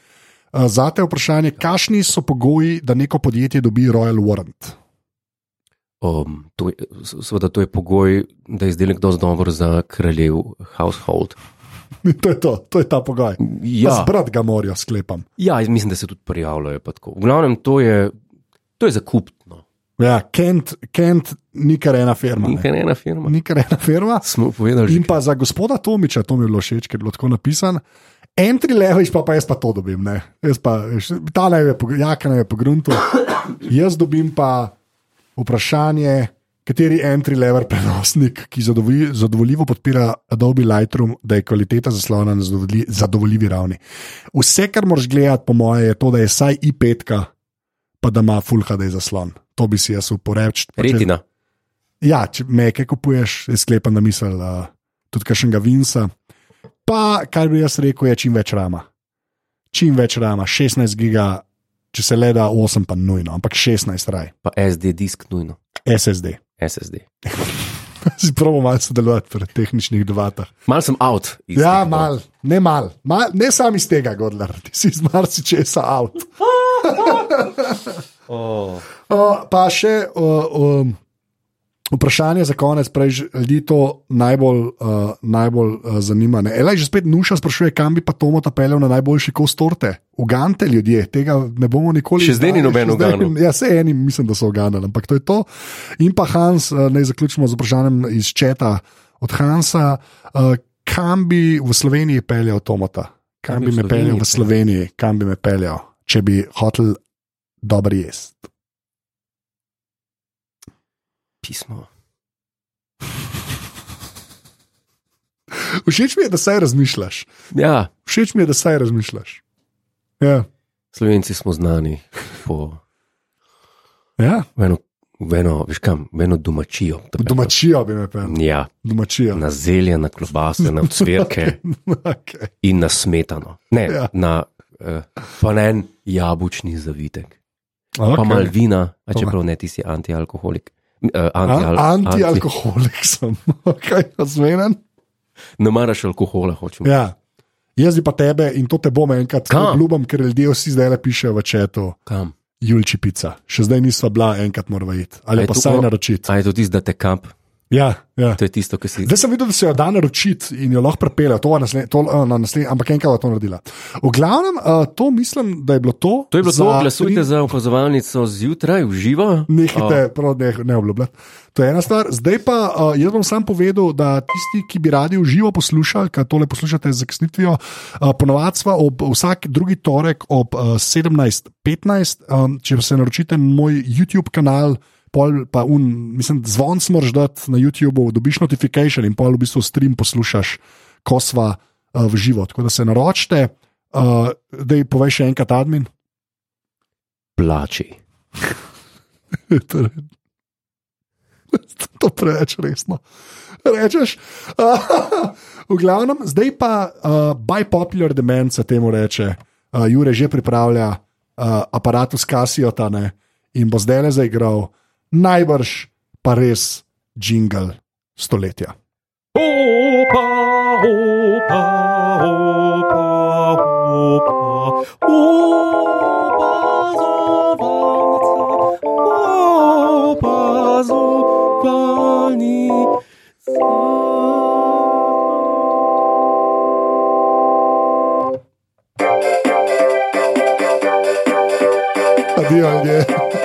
Speaker 2: za te vprašanje, kakšni so pogoji, da neko podjetje dobi Royal Warrant?
Speaker 1: Um, to je s- seveda, to je pogoj, da je izdelek dovolj dober za kraljev household.
Speaker 2: To je, to, to je ta pogoj. Ja.
Speaker 1: Ja,
Speaker 2: Zbrat ga morajo, sklepam.
Speaker 1: ja, jaz mislim, da se tudi prijavljajo. pa tako. V glavnem, to je, to je no. zakupno.
Speaker 2: Ja, Kent, Kent ni kar ena firma.
Speaker 1: Ni
Speaker 2: ne.
Speaker 1: kar ena firma.
Speaker 2: Ni kar ena firma.
Speaker 1: Smo povedali že.
Speaker 2: In pa za gospoda Tomiča, to mi je bilo všeč, ker je bilo tako napisano. Entry level, pa, pa jaz pa to dobim. Ne? Jaz pa, veš, ta naj je, pog- jaka naj je pogrunto. Jaz dobim pa vprašanje, kateri entry-level prenosnik, ki zadovolji, zadovoljivo podpira Adobe Lightroom, da je kvaliteta zaslona na zadovolji, zadovoljivi ravni. Vse, kar moraš gledati, po moje, je to, da je vsaj i5, pa da ima Full HD zaslon. To bi si jaz uporečil.
Speaker 1: Retina.
Speaker 2: Ja, če meke kupuješ, jaz sklepam na misel, uh, tudi kakšnega vinca. Pa, kar bi jaz rekel, je čim več rama. Čim več rama, 16 giga, če se le da 8, pa nujno, ampak 16 raj,
Speaker 1: Pa SD disk nujno,
Speaker 2: SSD.
Speaker 1: SSD.
Speaker 2: Si pravo malo sodelovati pri tehničnih debatah.
Speaker 1: Mal sem out. iz
Speaker 2: Ja,
Speaker 1: tega.
Speaker 2: mal, ne mal, mal ne sam iz tega, Godler, ti si iz marsičesa avt.
Speaker 1: Oh.
Speaker 2: Uh, pa še uh, um, vprašanje za konec, prej že ljudi to najbolj, uh, najbolj uh, zanima. Ne? Elaj že spet nuša sprašuje, kam bi pa Tomo tapeljal na najboljši kos torte. Ugante ljudje, tega ne bomo nikoli
Speaker 1: Še zdaj ni
Speaker 2: izdali,
Speaker 1: noben
Speaker 2: še zdaj-
Speaker 1: uganil.
Speaker 2: Ja, se enim, mislim, da so uganili, ampak to je to. In pa Hans, uh, naj zaključimo z vprašanjem iz četa od Hansa, uh, kam bi v Sloveniji peljal Tomota? Kam
Speaker 1: Kam
Speaker 2: bi
Speaker 1: bi v
Speaker 2: me peljal v
Speaker 1: Sloveniji
Speaker 2: Sloveniji, kam bi me peljal, če bi hotel dobro jesti?
Speaker 1: Pismo.
Speaker 2: Všeč mi je, da saj razmišljaš.
Speaker 1: Ja,
Speaker 2: Všeč mi je, da saj razmišljaš. Ja,
Speaker 1: Slovenci smo znani po
Speaker 2: ja.
Speaker 1: v eno, v eno, veš kam, v eno domačijo. da bi-
Speaker 2: domačijo bi me pel.
Speaker 1: Ja,
Speaker 2: Domačijo.
Speaker 1: na zelje, na klobase, na cvrke
Speaker 2: okay.
Speaker 1: in na smetano. Ne,
Speaker 2: Ja.
Speaker 1: ja. na eh, pa ne en jabučni zavitek. Okay. Pa mal
Speaker 2: okay.
Speaker 1: vina, a
Speaker 2: Pa-
Speaker 1: čeprav ne ti si antialkoholik. Uh,
Speaker 2: A-
Speaker 1: anti, anti,
Speaker 2: Antialkoholik sem, kaj razumem.
Speaker 1: ne maraš alkohola, hočem. Ja.
Speaker 2: Ja. Jaz bi pa tebe in to te bom enkrat
Speaker 1: Kam?
Speaker 2: obljubim, ker ljudje vsi zdaj le pišejo v četu.
Speaker 1: Kam?
Speaker 2: Julči pica, še zdaj nisva bila, enkrat morava iti. Ali
Speaker 1: Aj,
Speaker 2: pa
Speaker 1: to
Speaker 2: saj
Speaker 1: bo-
Speaker 2: naročiti.
Speaker 1: A je to tisto, da te kamp,
Speaker 2: Ja, ja.
Speaker 1: to je tisto, ki si.
Speaker 2: Zdaj sem videl, da se jo da naročiti in jo lahko prepele, to je na naslednji, ampak enkrat bo to naredila. V glavnem, uh, to mislim, da je bilo to.
Speaker 1: To je bilo
Speaker 2: za
Speaker 1: to,
Speaker 2: tri-
Speaker 1: glasujte za opazovalnico zjutraj, uživa.
Speaker 2: Nehajte, prav ne, ne obljubljati. To je ena stvar. Zdaj pa uh, jaz bom sam povedal, da tisti, ki bi radi v živo poslušali, ki tole poslušate z zaknitvijo, uh, ponovadi sva ob vsak drugi torek ob uh, 17.15, um, če se naročite na moj YouTube kanal. Pol pa un, mislim, zvon smrš dati na YouTubu, dobiš notifikacijo in pol v bistvu stream poslušaš, ko sva uh, v živo. Tako da se naročite, uh, da ji poveš še enkrat admin.
Speaker 1: Plači.
Speaker 2: Torej, to preveč resno. Rečeš. Uh, v glavnem, zdaj pa uh, by popular demand se temu reče. Uh, Jure že pripravlja uh, aparatus Casio ne, in bo zdaj le zaigral, najbrž pa res jingle stoletja.
Speaker 1: Opa, opa, opa, opa, opazovalnica, opazovalnica.
Speaker 2: Adijo, ljudje.